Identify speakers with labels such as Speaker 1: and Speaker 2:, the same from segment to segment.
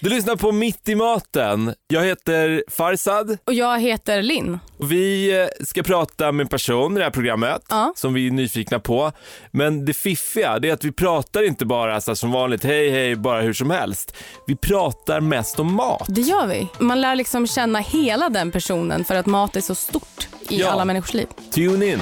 Speaker 1: Du lyssnar på Mitt i maten. Jag heter Farsad.
Speaker 2: Och jag heter Linn.
Speaker 1: Vi eh, ska prata med en person i det här programmet
Speaker 2: Ja.
Speaker 1: som vi är nyfikna på. Men det fiffiga det är att vi pratar inte bara så här, som vanligt, hej hej, bara hur som helst. Vi pratar mest om mat.
Speaker 2: Det gör vi. Man lär liksom känna hela den personen för att mat är så stort i
Speaker 1: Ja.
Speaker 2: alla människors liv.
Speaker 1: Tune in.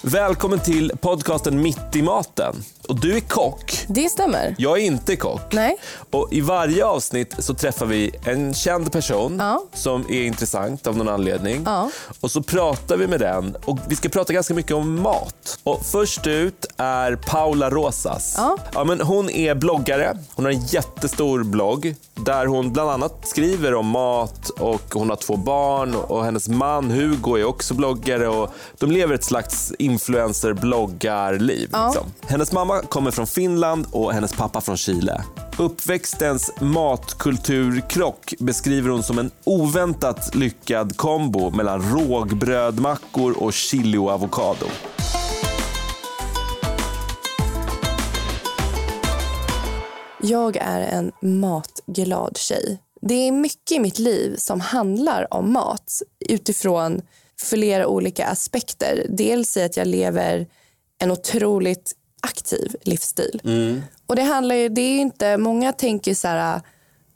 Speaker 1: Välkommen till podcasten Mitt i maten. Och du är kock.
Speaker 2: Det stämmer.
Speaker 1: Jag är inte kock.
Speaker 2: Nej.
Speaker 1: Och I varje avsnitt så träffar vi en känd person
Speaker 2: Ja.
Speaker 1: som är intressant av någon anledning.
Speaker 2: Ja.
Speaker 1: Och så pratar vi med den och vi ska prata ganska mycket om mat. Och Först ut är Paula Rosas.
Speaker 2: Ja.
Speaker 1: men hon är bloggare. Hon har en jättestor blogg där hon bland annat skriver om mat och hon har två barn och hennes man Hugo är också bloggare och de lever ett slags influencer-bloggarliv.
Speaker 2: Ja.
Speaker 1: Liksom. Hennes mamma kommer från Finland och hennes pappa från Chile. Uppväxtens matkulturkrock beskriver hon som en oväntat lyckad kombo mellan rågbrödmackor och chili och avokado.
Speaker 3: Jag är en matglad tjej. Det är mycket i mitt liv som handlar om mat utifrån flera olika aspekter. Dels i att jag lever en otroligt aktiv livsstil. Och det handlar ju, det är ju inte, många tänker ju så här,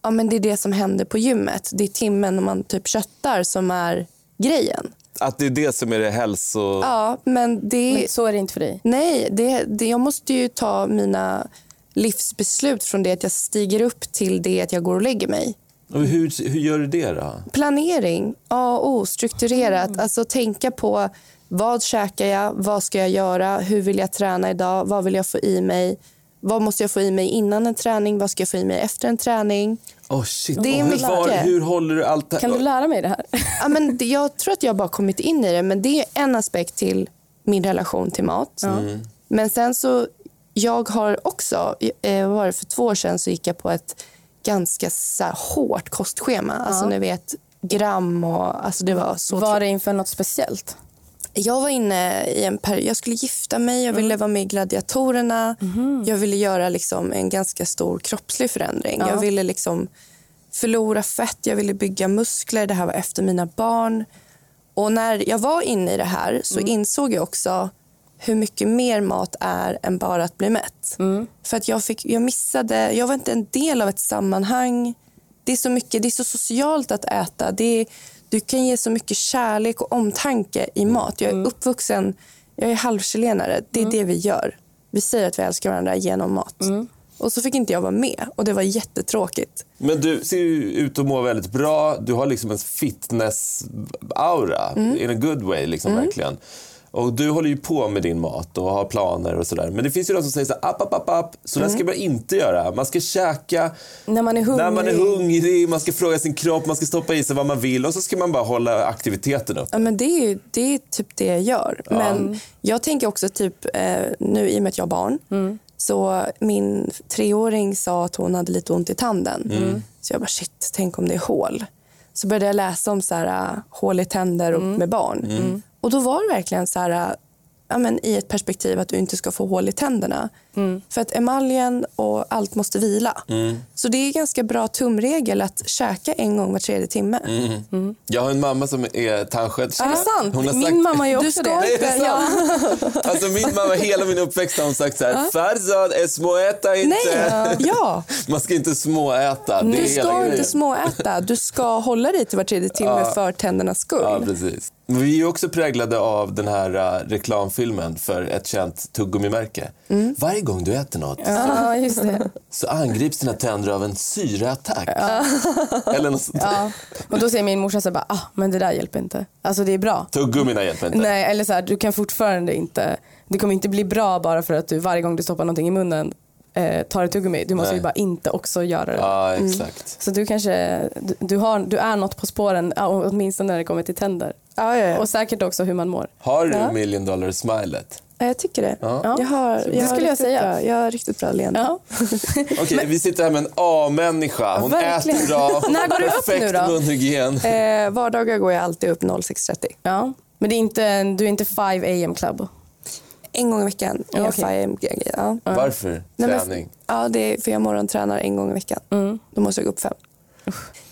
Speaker 3: ja men det är det som händer på gymmet. Det är timmen när man typ köttar som är grejen.
Speaker 1: Att det är det som är det hälso...
Speaker 3: Ja, men det...
Speaker 2: Men så är det inte för dig.
Speaker 3: Nej, det, det, jag måste ju ta mina livsbeslut från det att jag stiger upp till det att jag går och lägger mig.
Speaker 1: Och Hur, hur gör du det då?
Speaker 3: Planering, A och O, strukturerat. Alltså tänka på vad käkar jag, vad ska jag göra, hur vill jag träna idag, vad vill jag få i mig, vad måste jag få i mig innan en träning, vad ska jag få i mig efter en träning.
Speaker 1: Oh shit.
Speaker 3: Det är
Speaker 1: Och hur,
Speaker 3: mycket.
Speaker 1: var, hur håller du allt det här?
Speaker 2: Kan du lära mig det här?
Speaker 3: Ja, men det, jag tror att jag bara kommit in i det, men det är en aspekt till min relation till mat. Mm. Men sen så, jag har också, eh, vad var det för två år sedan så gick jag på ett ganska så här, hårt kostschema. Alltså ni vet gram och, alltså det var så.
Speaker 2: Var det inför något speciellt?
Speaker 3: Jag var inne i en period, jag skulle gifta mig, jag ville vara med i Gladiatorerna. Jag ville göra liksom en ganska stor kroppslig förändring.
Speaker 2: Ja.
Speaker 3: Jag ville liksom förlora fett, jag ville bygga muskler. Det här var efter mina barn. Och när jag var inne i det här så insåg jag också hur mycket mer mat är än bara att bli mätt. För att jag, fick, jag missade, jag var inte en del av ett sammanhang. Det är så mycket, det är så socialt att äta. Det är, du kan ge så mycket kärlek och omtanke i mat. Jag är uppvuxen, jag är halvchilenare. Det är det vi gör. Vi säger att vi älskar varandra genom mat. Och så fick inte jag vara med och det var jättetråkigt.
Speaker 1: Men du ser ju ut att må väldigt bra. Du har liksom en fitness-aura
Speaker 2: Mm.
Speaker 1: in a good way. Liksom, verkligen. Och Du håller ju på med din mat och har planer och sådär. Men det finns ju de som säger så här, app, app, app, app. Så där ska man inte göra. Man ska käka
Speaker 2: När man är Mm. hungrig.
Speaker 1: när man är hungrig, man ska fråga sin kropp, man ska stoppa i sig vad man vill och så ska man bara hålla aktiviteten uppe.
Speaker 3: Ja, men det, är ju, det är typ det jag gör. Men jag tänker också, typ, eh, nu i och med att jag har barn
Speaker 1: Mm.
Speaker 3: så min treåring sa att hon hade lite ont i tanden.
Speaker 1: Mm.
Speaker 3: Mm. Så jag bara, shit, tänk om det är hål. Så började jag läsa om så här, äh, hål i tänder
Speaker 1: Mm.
Speaker 3: och, med barn. Och Då var det verkligen så här, äh, ja, men i ett perspektiv att du inte ska få hål i tänderna.
Speaker 1: Mm.
Speaker 3: För att emaljen och allt måste vila. Så det är ganska bra tumregel att käka en gång var tredje timme.
Speaker 1: Mm. Jag har en mamma som är tandsköterska.
Speaker 2: Är det sant?
Speaker 1: Hon har sagt-
Speaker 2: Min mamma gör
Speaker 3: Du
Speaker 2: också
Speaker 3: ska
Speaker 2: det.
Speaker 1: Nej, det är sant. Alltså min mamma, hela min uppväxt har hon sagt så här, Farzad, småäta inte.
Speaker 3: Nej, ja.
Speaker 1: Man ska inte småäta. Det är
Speaker 3: Du
Speaker 1: hela
Speaker 3: ska
Speaker 1: grejen.
Speaker 3: inte småäta. Du ska hålla dig till var tredje timme för tändernas skull.
Speaker 1: Ja, precis. Men Vi är ju också präglade av den här eh, reklamfilmen för ett känt tuggummimärke.
Speaker 2: Mm.
Speaker 1: Varje gång du äter något
Speaker 2: Ja, just det.
Speaker 1: så angrips dina tänder av en syraattack. Eller något sånt.
Speaker 2: Ja. Och då säger min morsa så här bara, ah, men det där hjälper inte. Alltså det är bra.
Speaker 1: Tuggummina hjälper inte.
Speaker 2: Nej, eller så här, du kan fortfarande inte, det kommer inte bli bra bara för att du varje gång du stoppar någonting i munnen eh, tar ett tuggummi. Du måste
Speaker 1: Nej.
Speaker 2: ju bara inte också göra det.
Speaker 1: Ja, exakt.
Speaker 2: Så du kanske, du, du, har, du är något på spåren, ja, åtminstone när det kommer till tänder.
Speaker 3: Ja, ja, ja.
Speaker 2: Och säkert också hur man mår.
Speaker 1: Har du million dollar smilet?
Speaker 3: Ja, jag tycker det.
Speaker 1: Ja.
Speaker 3: Jag har, jag
Speaker 2: Det
Speaker 3: har
Speaker 2: skulle jag
Speaker 3: riktigt
Speaker 2: säga.
Speaker 3: Bra, jag har riktigt bra leende.
Speaker 2: Ja.
Speaker 1: Okej, vi sitter här med en A-människa. Hon
Speaker 2: verkligen.
Speaker 1: äter bra.
Speaker 2: När går du upp nu
Speaker 1: perfekt
Speaker 2: då?
Speaker 1: munhygien.
Speaker 3: Eh, vardagar går jag alltid upp 06.30.
Speaker 2: ja. Men det är inte, en- du är inte 5 am club?
Speaker 3: En gång i veckan är jag
Speaker 2: okej.
Speaker 3: 5 ja.
Speaker 1: Varför?
Speaker 3: Nej, men-
Speaker 1: Träning.
Speaker 3: Ja, det är för jag morgontränar en gång i veckan. Då måste jag gå upp fem.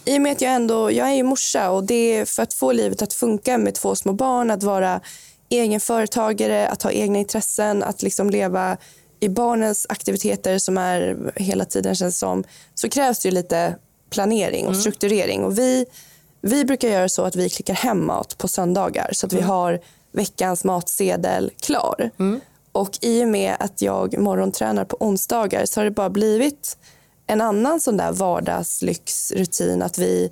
Speaker 3: I och med att jag ändå, jag är ju morsa och det är för att få livet att funka med två små barn, att vara egen företagare, att ha egna intressen, att liksom leva i barnens aktiviteter som är hela tiden känns som, så krävs det ju lite planering och strukturering. Och vi, vi brukar göra så att vi klickar hem mat på söndagar så att vi har veckans matsedel klar. Och i och med att jag morgontränar på onsdagar så har det bara blivit en annan sån där vardagslyxrutin att vi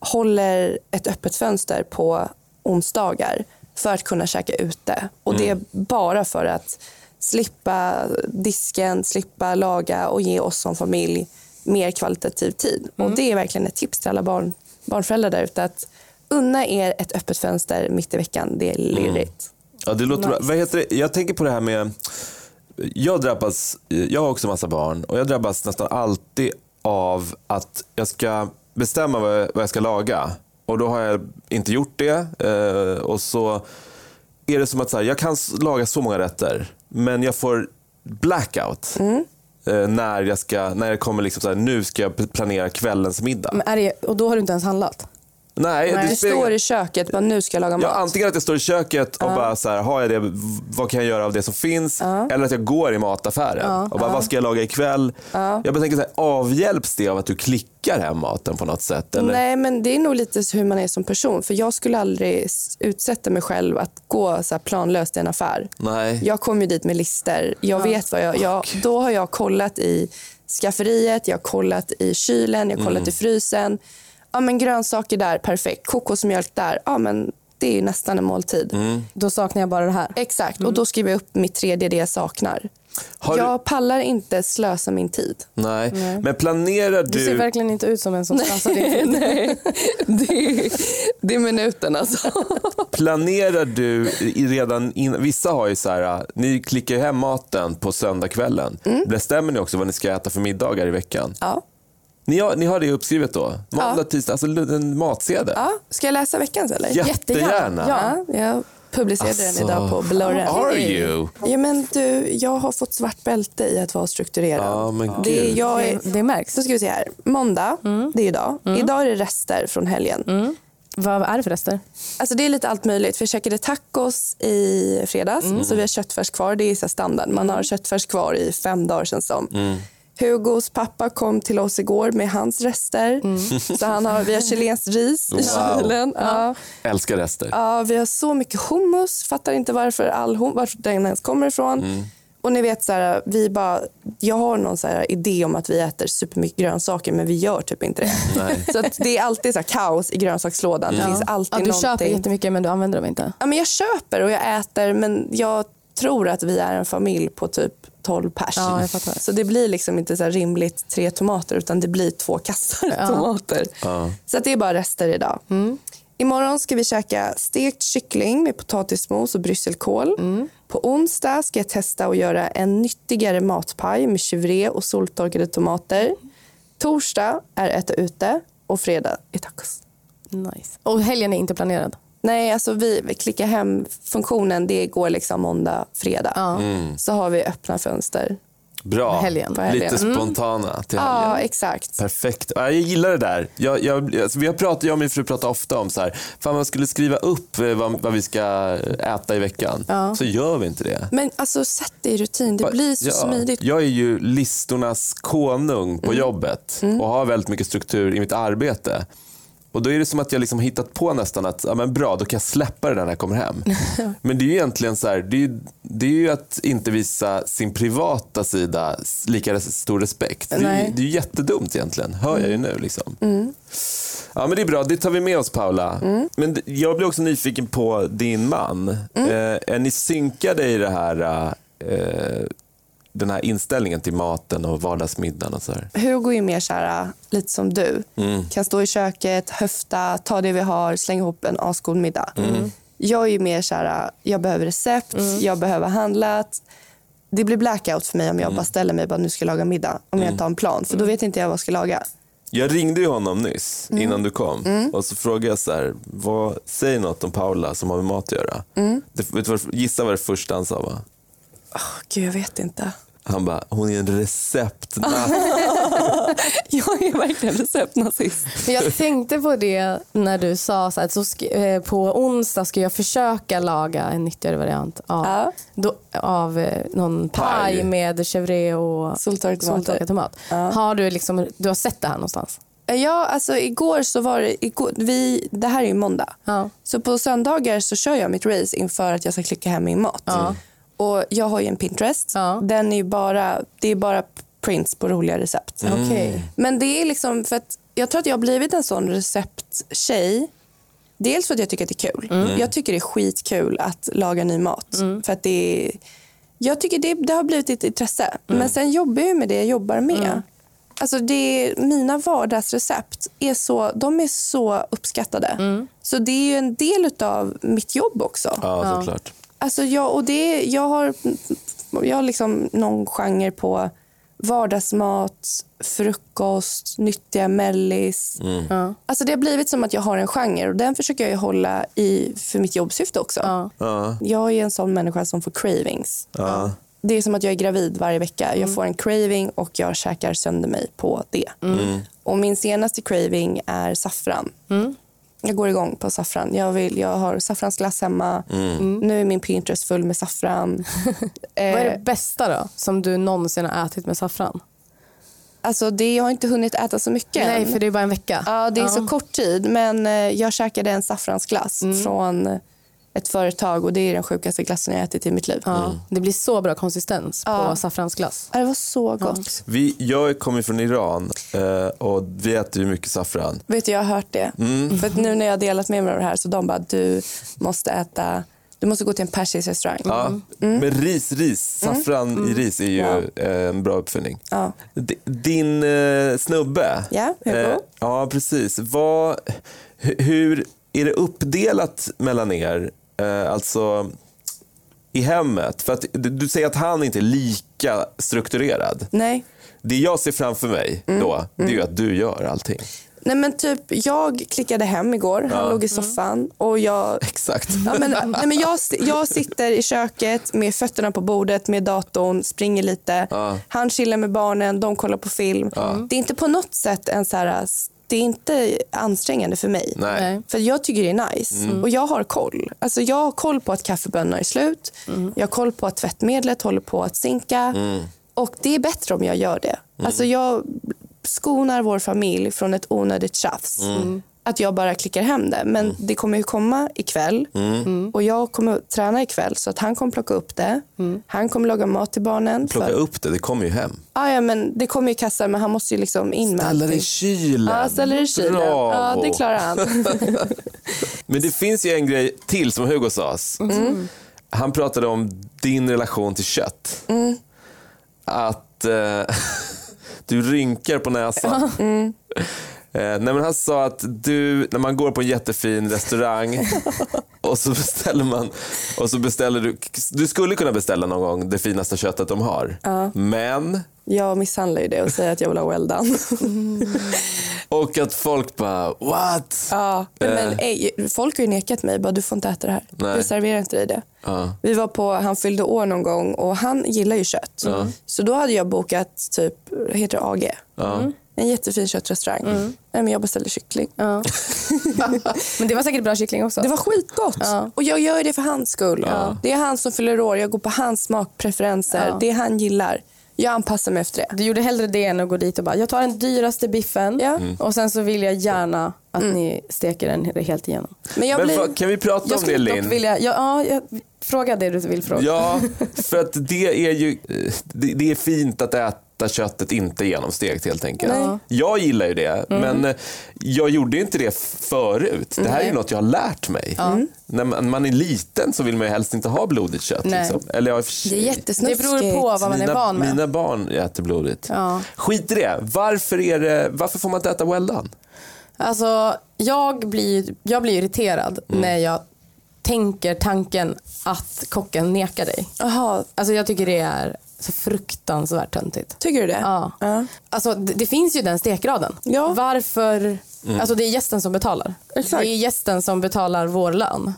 Speaker 3: håller ett öppet fönster på onsdagar för att kunna käka ute. Och det
Speaker 1: Mm.
Speaker 3: är bara för att slippa disken, slippa laga och ge oss som familj mer kvalitativ tid.
Speaker 1: Mm.
Speaker 3: Och det är verkligen ett tips till alla barn, barnföräldrar där ute att unna er ett öppet fönster mitt i veckan. Det är
Speaker 1: Mm.
Speaker 3: lurigt.
Speaker 1: Ja, det låter bra.
Speaker 2: Nice.
Speaker 1: Vad heter det? Jag tänker på det här med... Jag drabbas, jag har också massa barn och jag drabbas nästan alltid av att jag ska bestämma vad jag, vad jag ska laga. Och då har jag inte gjort det. eh, Och så är det som att så här, jag kan s- laga så många rätter men jag får blackout. eh, När, jag ska, när det kommer liksom så här, nu ska jag p- planera kvällens middag.
Speaker 2: Men är det, och då har du inte ens handlat?
Speaker 1: nej,
Speaker 2: Mm. Nej.
Speaker 1: det
Speaker 3: Du
Speaker 1: spelar
Speaker 3: står i köket bara nu ska jag laga
Speaker 1: Ja,
Speaker 3: mat.
Speaker 1: antingen att jag står i köket och bara så här, har jag det, v- vad kan jag göra av det som finns? Eller att jag går i mataffären och bara, vad ska jag laga ikväll? Jag bara tänker så här, avhjälps det av att du klickar hem maten på något sätt? Eller?
Speaker 3: Nej, men det är nog lite hur man är som person. För Jag skulle aldrig s- utsätta mig själv att gå så här planlöst i en affär.
Speaker 1: Nej.
Speaker 3: Jag kom ju dit med lister. Jag vet vad jag, jag... Då har jag kollat i skafferiet, jag har kollat i kylen, jag har kollat i frysen. Ja, men grönsaker där, perfekt. Kokosmjölk där, ja, men det är ju nästan en måltid.
Speaker 2: Då saknar jag bara det här.
Speaker 3: Exakt, och då skriver jag upp mitt tredje, det jag saknar.
Speaker 1: Har du-
Speaker 3: jag pallar inte slösa min tid.
Speaker 1: Nej. Men planerar
Speaker 2: Du ser
Speaker 1: du...
Speaker 2: verkligen inte ut som en som stressar din
Speaker 3: Nej, det, det är minuten alltså.
Speaker 1: Planerar du i- redan in, vissa har ju så här, äh, ni klickar ju hem maten på söndagskvällen. Bestämmer ni också vad ni ska äta för middagar i veckan?
Speaker 3: Ja.
Speaker 1: Ni har, ni har det uppskrivet då? Måndag, tisdag, alltså l- en matsedel?
Speaker 3: Ja, ska jag läsa veckans eller?
Speaker 1: Jättegärna.
Speaker 3: Ja, jag publicerade
Speaker 1: Alltså,
Speaker 3: den idag på Blurren.
Speaker 1: Are you?
Speaker 3: Ja, men du, jag har fått svart bälte i att vara strukturerad.
Speaker 1: Ja, men
Speaker 3: det,
Speaker 1: gud.
Speaker 3: jag är,
Speaker 2: det, det märks.
Speaker 3: så ska vi se här. Måndag, det är idag. Idag är det rester från helgen.
Speaker 2: Vad är det för rester?
Speaker 3: Alltså det är lite allt möjligt. För jag käkade tacos i fredags,
Speaker 1: Mm.
Speaker 3: så vi har köttfärs kvar. Det är så här standard. Man har köttfärs kvar i fem dagar känns som.
Speaker 1: Mm.
Speaker 3: Hugos pappa kom till oss igår med hans rester. Så han har, vi har chilenskt ris i
Speaker 1: Wow.
Speaker 3: kylen. Ja.
Speaker 1: Älskar rester.
Speaker 3: Ja, vi har så mycket hummus. Fattar inte varför, all hum- varför den ens kommer ifrån. Och ni vet, så här, vi bara, jag har någon så här idé om att vi äter supermycket grönsaker men vi gör typ inte det. Så att det är alltid så här kaos i grönsakslådan. Det finns alltid
Speaker 2: ja, du köper
Speaker 3: någonting.
Speaker 2: jättemycket men du använder dem inte.
Speaker 3: Ja, men jag köper och jag äter men jag tror att vi är en familj på typ 12 pers.
Speaker 2: Ja, jag fattar.
Speaker 3: så det blir liksom inte så här rimligt tre tomater utan det blir två kassar tomater. Så att det är bara rester idag.
Speaker 2: Mm.
Speaker 3: Imorgon ska vi käka stekt kyckling med potatismos och brysselkål.
Speaker 2: Mm.
Speaker 3: På onsdag ska jag testa att göra en nyttigare matpaj med chivre och soltorkade tomater.
Speaker 2: Mm.
Speaker 3: Torsdag är äta ute och fredag är tacos.
Speaker 2: Nice. Och helgen är inte planerad?
Speaker 3: Nej, alltså vi, vi klickar hem-funktionen, det går liksom måndag, fredag. Så har vi öppna fönster.
Speaker 1: Bra.
Speaker 2: helgen. På
Speaker 3: helgen.
Speaker 1: Lite spontana till helgen.
Speaker 3: Ja, exakt.
Speaker 1: Perfekt. Ja, Jag gillar det där. Jag, jag, alltså, vi har pratat, jag och min fru pratar ofta om så här, fan man skulle skriva upp eh, vad, vad vi ska äta i veckan. Så gör vi inte det.
Speaker 3: Men alltså sätt det i rutin, det blir så
Speaker 1: Ja.
Speaker 3: smidigt. Mm.
Speaker 1: Jag är ju listornas konung på jobbet och har väldigt mycket struktur i mitt arbete. Och Då är det som att jag liksom hittat på nästan att ja, men bra, då kan jag släppa det där när jag kommer hem. men det är ju egentligen så här, det är ju, det är ju att inte visa sin privata sida s- lika res- stor respekt. Det är, ju-
Speaker 2: Nej.
Speaker 1: det är ju jättedumt egentligen, hör
Speaker 3: Mm.
Speaker 1: jag ju nu. Liksom. Ja, men Det är bra, det tar vi med oss Paula. Men d- jag blir också nyfiken på din man. Eh, är ni synkade i det här, eh, den här inställningen till maten och vardagsmiddagen? Och så här?
Speaker 3: Hugo är mer så här, lite som du. Kan stå i köket, höfta, ta det vi har, slänga ihop en asgod middag. Jag är ju mer så här, jag behöver recept, jag behöver handlat. Det blir blackout för mig om jag bara ställer mig och bara nu ska jag laga middag. Om jag inte har en plan, för då vet inte jag vad jag ska laga.
Speaker 1: Jag ringde ju honom nyss innan du kom och så frågade jag så här, vad, säg något om Paula som har med mat att göra. Det, vet du vad, gissa vad det första han sa var?
Speaker 3: Oh, Gud, jag vet inte.
Speaker 1: Han bara, hon är en receptnatt.
Speaker 3: Jag är verkligen receptnazist.
Speaker 2: Men Jag tänkte på det när du sa så att så sk- eh, på onsdag ska jag försöka laga en nyttigare variant av,
Speaker 3: Ja.
Speaker 2: då, av eh, någon paj,
Speaker 1: Paj.
Speaker 2: med chèvre och
Speaker 3: Soltorkade tomater.
Speaker 2: soltorkad tomat. Har du, liksom, du har sett det här någonstans?
Speaker 3: Ja, alltså igår så var det... Igår, vi, det här är ju måndag.
Speaker 2: Ja.
Speaker 3: Så på söndagar så kör jag mitt race inför att jag ska klicka hem min mat. Och jag har ju en Pinterest.
Speaker 2: Ja.
Speaker 3: Den är ju bara, det är bara prints på roliga recept.
Speaker 2: Okej.
Speaker 3: Men det är liksom för att jag tror att jag har blivit en sån recepttjej. Dels för att jag tycker att det är kul. Jag tycker det är skitkul att laga ny mat. För att det är, jag tycker det, det har blivit ett intresse. Men sen jobbar jag ju med det jag jobbar med. Alltså det är, mina vardagsrecept är så, de är så uppskattade. Så det är ju en del av mitt jobb också.
Speaker 1: Ja, såklart.
Speaker 3: Alltså jag, och det, jag har, jag har liksom någon genre på vardagsmat, frukost, nyttiga mellis.
Speaker 2: Ja.
Speaker 3: Alltså det har blivit som att jag har en genre och den försöker jag ju hålla i för mitt jobbsyfte också.
Speaker 2: Ja.
Speaker 1: Ja.
Speaker 3: Jag är en sån människa som får cravings.
Speaker 1: Ja.
Speaker 3: Det är som att jag är gravid varje vecka. Jag
Speaker 2: Mm.
Speaker 3: får en craving och jag käkar sönder mig på det.
Speaker 2: Mm.
Speaker 3: Och min senaste craving är saffran.
Speaker 2: Mm.
Speaker 3: Jag går igång på saffran. Jag, vill, jag har saffransglass hemma. Nu är min Pinterest full med saffran. eh,
Speaker 2: Mm. Vad är det bästa då som du någonsin har ätit med saffran?
Speaker 3: alltså det, jag har inte hunnit äta så mycket
Speaker 2: Nej,
Speaker 3: än.
Speaker 2: för det är bara en vecka.
Speaker 3: Ja, det är så kort tid. Men eh, jag käkade en saffransglass
Speaker 2: Mm.
Speaker 3: från ett företag och det är den sjukaste glassen jag ätit i mitt liv.
Speaker 2: Ja. Det blir så bra konsistens på saffransglass.
Speaker 3: Mm. Ja, Det var så gott.
Speaker 1: Vi, jag kommer från Iran eh, och vi äter ju mycket saffran.
Speaker 3: Vet du, jag har hört det.
Speaker 1: Mm.
Speaker 3: För att nu när jag har delat med mig av det här så de bara, du måste äta, du måste gå till en persisk restaurang.
Speaker 1: Ja.
Speaker 3: Mm.
Speaker 1: Men ris, ris, saffran i ris är ju eh, en bra uppfinning.
Speaker 3: Ja.
Speaker 1: D- Din eh, snubbe, Eh,
Speaker 3: Ja, Hugo.
Speaker 1: ja precis. Vad, hu- hur är det uppdelat mellan er? Eh, alltså i hemmet? För att du, du säger att han inte är lika strukturerad.
Speaker 3: Nej.
Speaker 1: Det jag ser framför mig
Speaker 3: Mm.
Speaker 1: då, det är ju att du gör allting.
Speaker 3: Nej men typ, jag klickade hem igår, han låg i
Speaker 1: Mm.
Speaker 3: soffan och jag
Speaker 1: Exakt.
Speaker 3: Ja, men, nej, men jag, si- jag sitter i köket med fötterna på bordet, med datorn, springer lite.
Speaker 1: Ja.
Speaker 3: Han chillar med barnen, de kollar på film. Det är inte på något sätt en så här, det är inte ansträngande för mig.
Speaker 1: Nej.
Speaker 2: Nej.
Speaker 3: För jag tycker det är nice
Speaker 1: Mm.
Speaker 3: och jag har koll. Alltså jag har koll på att kaffebönorna är slut.
Speaker 1: Mm.
Speaker 3: Jag har koll på att tvättmedlet håller på att sinka. Och det är bättre om jag gör det.
Speaker 1: Mm.
Speaker 3: Alltså jag skonar vår familj från ett onödigt tjafs.
Speaker 1: Mm.
Speaker 3: Att jag bara klickar hem det. Men det kommer ju komma ikväll. Mm. Och jag kommer träna ikväll så att han kommer plocka upp det. Han kommer laga mat till barnen.
Speaker 1: Mm. Plocka
Speaker 3: För-
Speaker 1: upp det, det kommer ju hem.
Speaker 3: Ah, ja, men det kommer ju kassar men han måste ju liksom in med
Speaker 1: Ställa dig i
Speaker 3: allting.
Speaker 1: kylen.
Speaker 3: Ja, ställer det i kylen. Ja,
Speaker 1: Bravo.
Speaker 3: det klarar han.
Speaker 1: Men det finns ju en grej till som Hugo sa.
Speaker 3: Mm.
Speaker 1: Han pratade om din relation till kött.
Speaker 3: Mm.
Speaker 1: Att eh, du rynkar på näsan.
Speaker 3: Mm.
Speaker 1: Eh, nej men han sa att du, när man går på en jättefin restaurang och så beställer man, och så beställer du, du skulle kunna beställa någon gång det finaste köttet de har. Men,
Speaker 3: Jag misshandlar ju det och säger att jag vill ha well done.
Speaker 1: och att folk bara what?
Speaker 3: ja, men, men, ej, folk har ju nekat mig. Bara, du får inte äta det här.
Speaker 1: Nej.
Speaker 3: Jag serverar inte dig det.
Speaker 1: Ja.
Speaker 3: Vi var på, han fyllde år någon gång och han gillar ju kött. Så då hade jag bokat typ, heter det AG? En jättefin köttrestaurang. Nej, men jag beställde kyckling.
Speaker 2: Ja. Men det var säkert bra kyckling också.
Speaker 3: Det var skitgott. Och jag gör det för hans skull. Det är han som fyller år. Jag går på hans smakpreferenser.
Speaker 2: Ja.
Speaker 3: Det han gillar. Jag anpassar mig efter det.
Speaker 2: Du gjorde hellre det än att gå dit och bara, jag tar den dyraste biffen
Speaker 3: Ja.
Speaker 1: Mm.
Speaker 3: Mm.
Speaker 2: och sen så vill jag gärna att ni steker den helt igenom.
Speaker 3: Men jag
Speaker 1: men
Speaker 3: blir...
Speaker 1: fa- kan vi prata
Speaker 2: Jag
Speaker 1: om det
Speaker 2: skulle dock
Speaker 1: Linn?
Speaker 2: vilja, ja, ja, jag, fråga det du vill fråga.
Speaker 1: Ja, för att det är ju det, det är fint att äta köttet inte genomstekt helt enkelt.
Speaker 2: Nej. Mm.
Speaker 1: Jag gillar ju det, men jag gjorde ju inte det förut. Det här är ju något jag har lärt mig.
Speaker 2: Mm.
Speaker 1: När man, man är liten så vill man ju helst inte ha blodigt kött.
Speaker 2: Nej.
Speaker 1: Liksom. Eller ja, i och för sig.
Speaker 3: Det är
Speaker 2: Det
Speaker 3: jättesnuskigt.
Speaker 2: beror på vad man
Speaker 1: mina,
Speaker 2: är van med.
Speaker 1: mina barn äter blodigt.
Speaker 2: Ja.
Speaker 1: Skit i det. Varför, är det. varför får man inte äta well done? Mm.
Speaker 2: Alltså, jag blir, jag blir irriterad när jag tänker tanken att kocken nekar dig.
Speaker 3: Jaha,
Speaker 2: Alltså jag tycker det är så fruktansvärt töntigt.
Speaker 3: tycker du det?
Speaker 2: Ja.
Speaker 3: Ja.
Speaker 2: Alltså, det, det finns ju den stekgraden.
Speaker 3: Ja.
Speaker 2: Varför?
Speaker 1: Mm.
Speaker 2: Alltså det är gästen som betalar.
Speaker 3: Exakt. Mm.
Speaker 2: Det är gästen som betalar vår lön.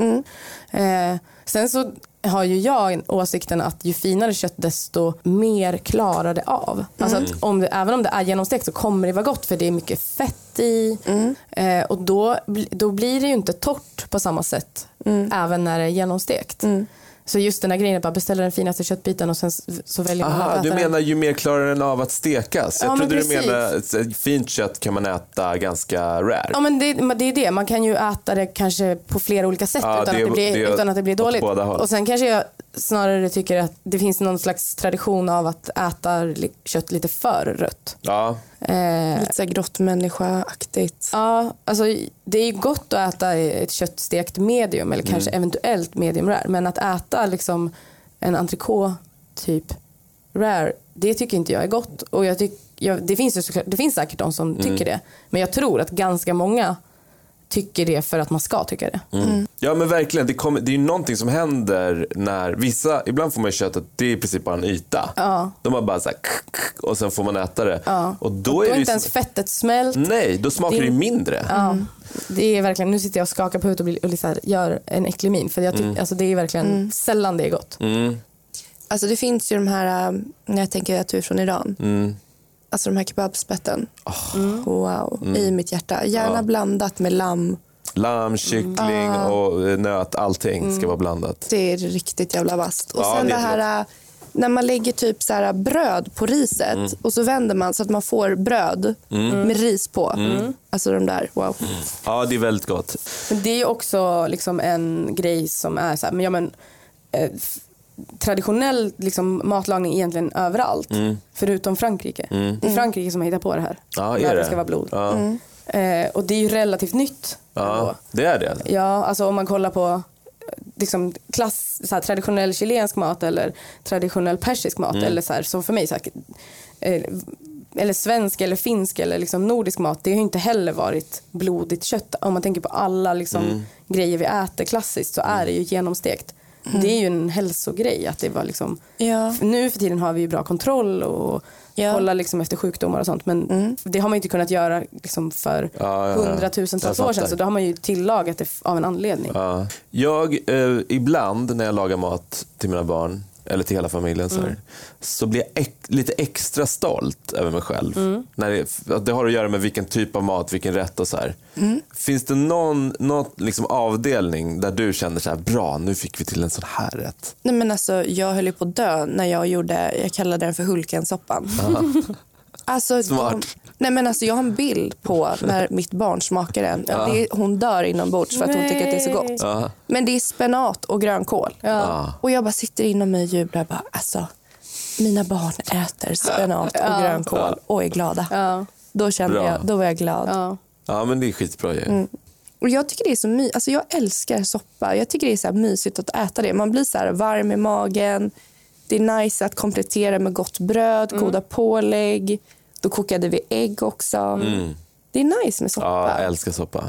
Speaker 2: Eh, sen så har ju jag en- åsikten att ju finare kött desto mer klarar det av.
Speaker 3: Mm.
Speaker 2: Alltså att om det, även om det är genomstekt så kommer det vara gott för det är mycket fett i.
Speaker 3: Mm.
Speaker 2: Eh, och då, bli- då blir det ju inte torrt på samma sätt
Speaker 3: Mm.
Speaker 2: även när det är genomstekt. Så just den här grejen att bara beställa den finaste köttbiten och sen s- så väljer man att
Speaker 1: Aha,
Speaker 2: äta
Speaker 1: du
Speaker 2: den.
Speaker 1: menar ju mer klarar den av att stekas? Jag
Speaker 2: Ja, men
Speaker 1: trodde du
Speaker 2: precis.
Speaker 1: menade att ett fint kött kan man äta ganska rare.
Speaker 2: Ja men det, men det är det, man kan ju äta det kanske på flera olika sätt
Speaker 1: Ja,
Speaker 2: utan,
Speaker 1: det-
Speaker 2: att det blir,
Speaker 1: det-
Speaker 2: utan att det blir
Speaker 1: åt
Speaker 2: dåligt.
Speaker 1: båda håll.
Speaker 2: Och sen kanske jag snarare tycker att det finns någon slags tradition av att äta li- kött lite för rött.
Speaker 1: Ja.
Speaker 2: Eh,
Speaker 3: Lite så här grottmänniska-aktigt.
Speaker 2: ja, alltså det är ju gott att äta ett kött stekt medium
Speaker 1: Mm.
Speaker 2: eller kanske eventuellt medium rare. Men att äta liksom en entrecote typ rare, det tycker inte jag är gott. Och jag tyck, jag, det, finns ju såklart, det finns säkert de som
Speaker 1: Mm.
Speaker 2: tycker det. Men jag tror att ganska många tycker det för att man ska tycka det.
Speaker 1: Mm. Ja men verkligen, det, kommer, det är ju någonting som händer när vissa, ibland får man ju köttet, det är i princip bara en yta. De har bara så här, k- k- och sen får man äta det. Och då
Speaker 2: Då
Speaker 1: är
Speaker 2: är
Speaker 1: det ju
Speaker 2: inte
Speaker 1: som- Mm.
Speaker 2: ens fettet smält.
Speaker 1: Nej, då smakar det ju mindre.
Speaker 2: Ja, det är verkligen, nu sitter jag och skakar på huvudet och, blir, och liksom gör en äcklig min. För jag
Speaker 1: Mm.
Speaker 2: tycker, alltså, det är verkligen sällan det är gott.
Speaker 3: Alltså det finns ju de här, äh, när jag tänker att du är från Iran.
Speaker 1: Mm.
Speaker 3: Alltså de här kebabspetten.
Speaker 1: Ah.
Speaker 3: Wow,
Speaker 1: Mm.
Speaker 3: i mitt hjärta. Gärna blandat med lamm.
Speaker 1: Lamm, kyckling
Speaker 2: Ah.
Speaker 1: och eh, nöt, allting
Speaker 2: Mm.
Speaker 1: ska vara blandat.
Speaker 3: Det är riktigt jävla vasst. Och
Speaker 1: Ja,
Speaker 3: sen
Speaker 1: det
Speaker 3: det
Speaker 1: är
Speaker 3: här äh, när man lägger typ så här bröd på riset
Speaker 1: Mm.
Speaker 3: och så vänder man så att man får bröd med ris på.
Speaker 1: Mm.
Speaker 3: Alltså de där, wow.
Speaker 1: Ja, det är väldigt gott.
Speaker 2: Men det är ju också liksom en grej som är så här, men, ja, men, eh, f- traditionell liksom, matlagning egentligen överallt. Förutom Frankrike. Det är Frankrike som har hittat på det här.
Speaker 1: Mm. Ja,
Speaker 2: med
Speaker 1: är
Speaker 2: att
Speaker 1: det?
Speaker 2: det ska vara blod.
Speaker 1: Ja,
Speaker 2: Eh, och det är ju relativt nytt. ändå.
Speaker 1: ja det är det.
Speaker 2: Ja, alltså om man kollar på eh, liksom klass, så här, traditionell chilensk mat eller traditionell persisk mat
Speaker 1: Mm.
Speaker 2: eller så här, som för mig, så här, eh, eller svensk eller finsk eller liksom nordisk mat, det har ju inte heller varit blodigt kött. Om man tänker på alla liksom,
Speaker 1: Mm.
Speaker 2: grejer vi äter klassiskt så är det ju genomstekt.
Speaker 1: Mm.
Speaker 2: Det är ju en hälsogrej att det var liksom,
Speaker 3: Ja.
Speaker 2: för nu för tiden har vi ju bra kontroll och
Speaker 3: Ja.
Speaker 2: kollar liksom efter sjukdomar och sånt men det har man ju inte kunnat göra liksom för
Speaker 1: Mm. ja, ja.
Speaker 2: hundratusentals
Speaker 1: Jag
Speaker 2: år sedan
Speaker 1: fattar.
Speaker 2: så då har man ju tillagat det f- av en anledning.
Speaker 1: Ja. Jag, eh, ibland när jag lagar mat till mina barn, eller till hela familjen, så, här, så blir jag ex- lite extra stolt över mig själv. När det, för det har att göra med vilken typ av mat, vilken rätt och så här. Finns det någon, någon liksom avdelning där du känner så här, bra, nu fick vi till en sån här rätt?
Speaker 3: Nej, men alltså, jag höll ju på att dö när jag gjorde, jag kallade den för Hulkensoppan. Alltså,
Speaker 1: Smart.
Speaker 3: De, nej, men alltså, jag har en bild på när mitt barn smakar den. Ja. Det, är- hon dör inombords för att hon tycker att det är så gott.
Speaker 1: Ja.
Speaker 3: Men det är spenat och grönkål.
Speaker 1: Ja.
Speaker 3: Och jag bara sitter inom mig djupt och bara, alltså, mina barn äter spenat och grönkål och är glada.
Speaker 2: Ja.
Speaker 3: Då kände
Speaker 1: Bra.
Speaker 3: jag, då var jag glad.
Speaker 2: Ja.
Speaker 1: Ja, men det är skitbra ju.
Speaker 3: Och jag tycker det är så my- alltså jag älskar soppa. Jag tycker det är så här mysigt att äta det. Man blir så här varm i magen. Det är nice att komplettera med gott bröd,
Speaker 1: Mm.
Speaker 3: goda pålägg. Då kokade vi ägg också. Det är nice
Speaker 1: Mm. Ja,
Speaker 3: med soppa.
Speaker 1: jag älskar soppa.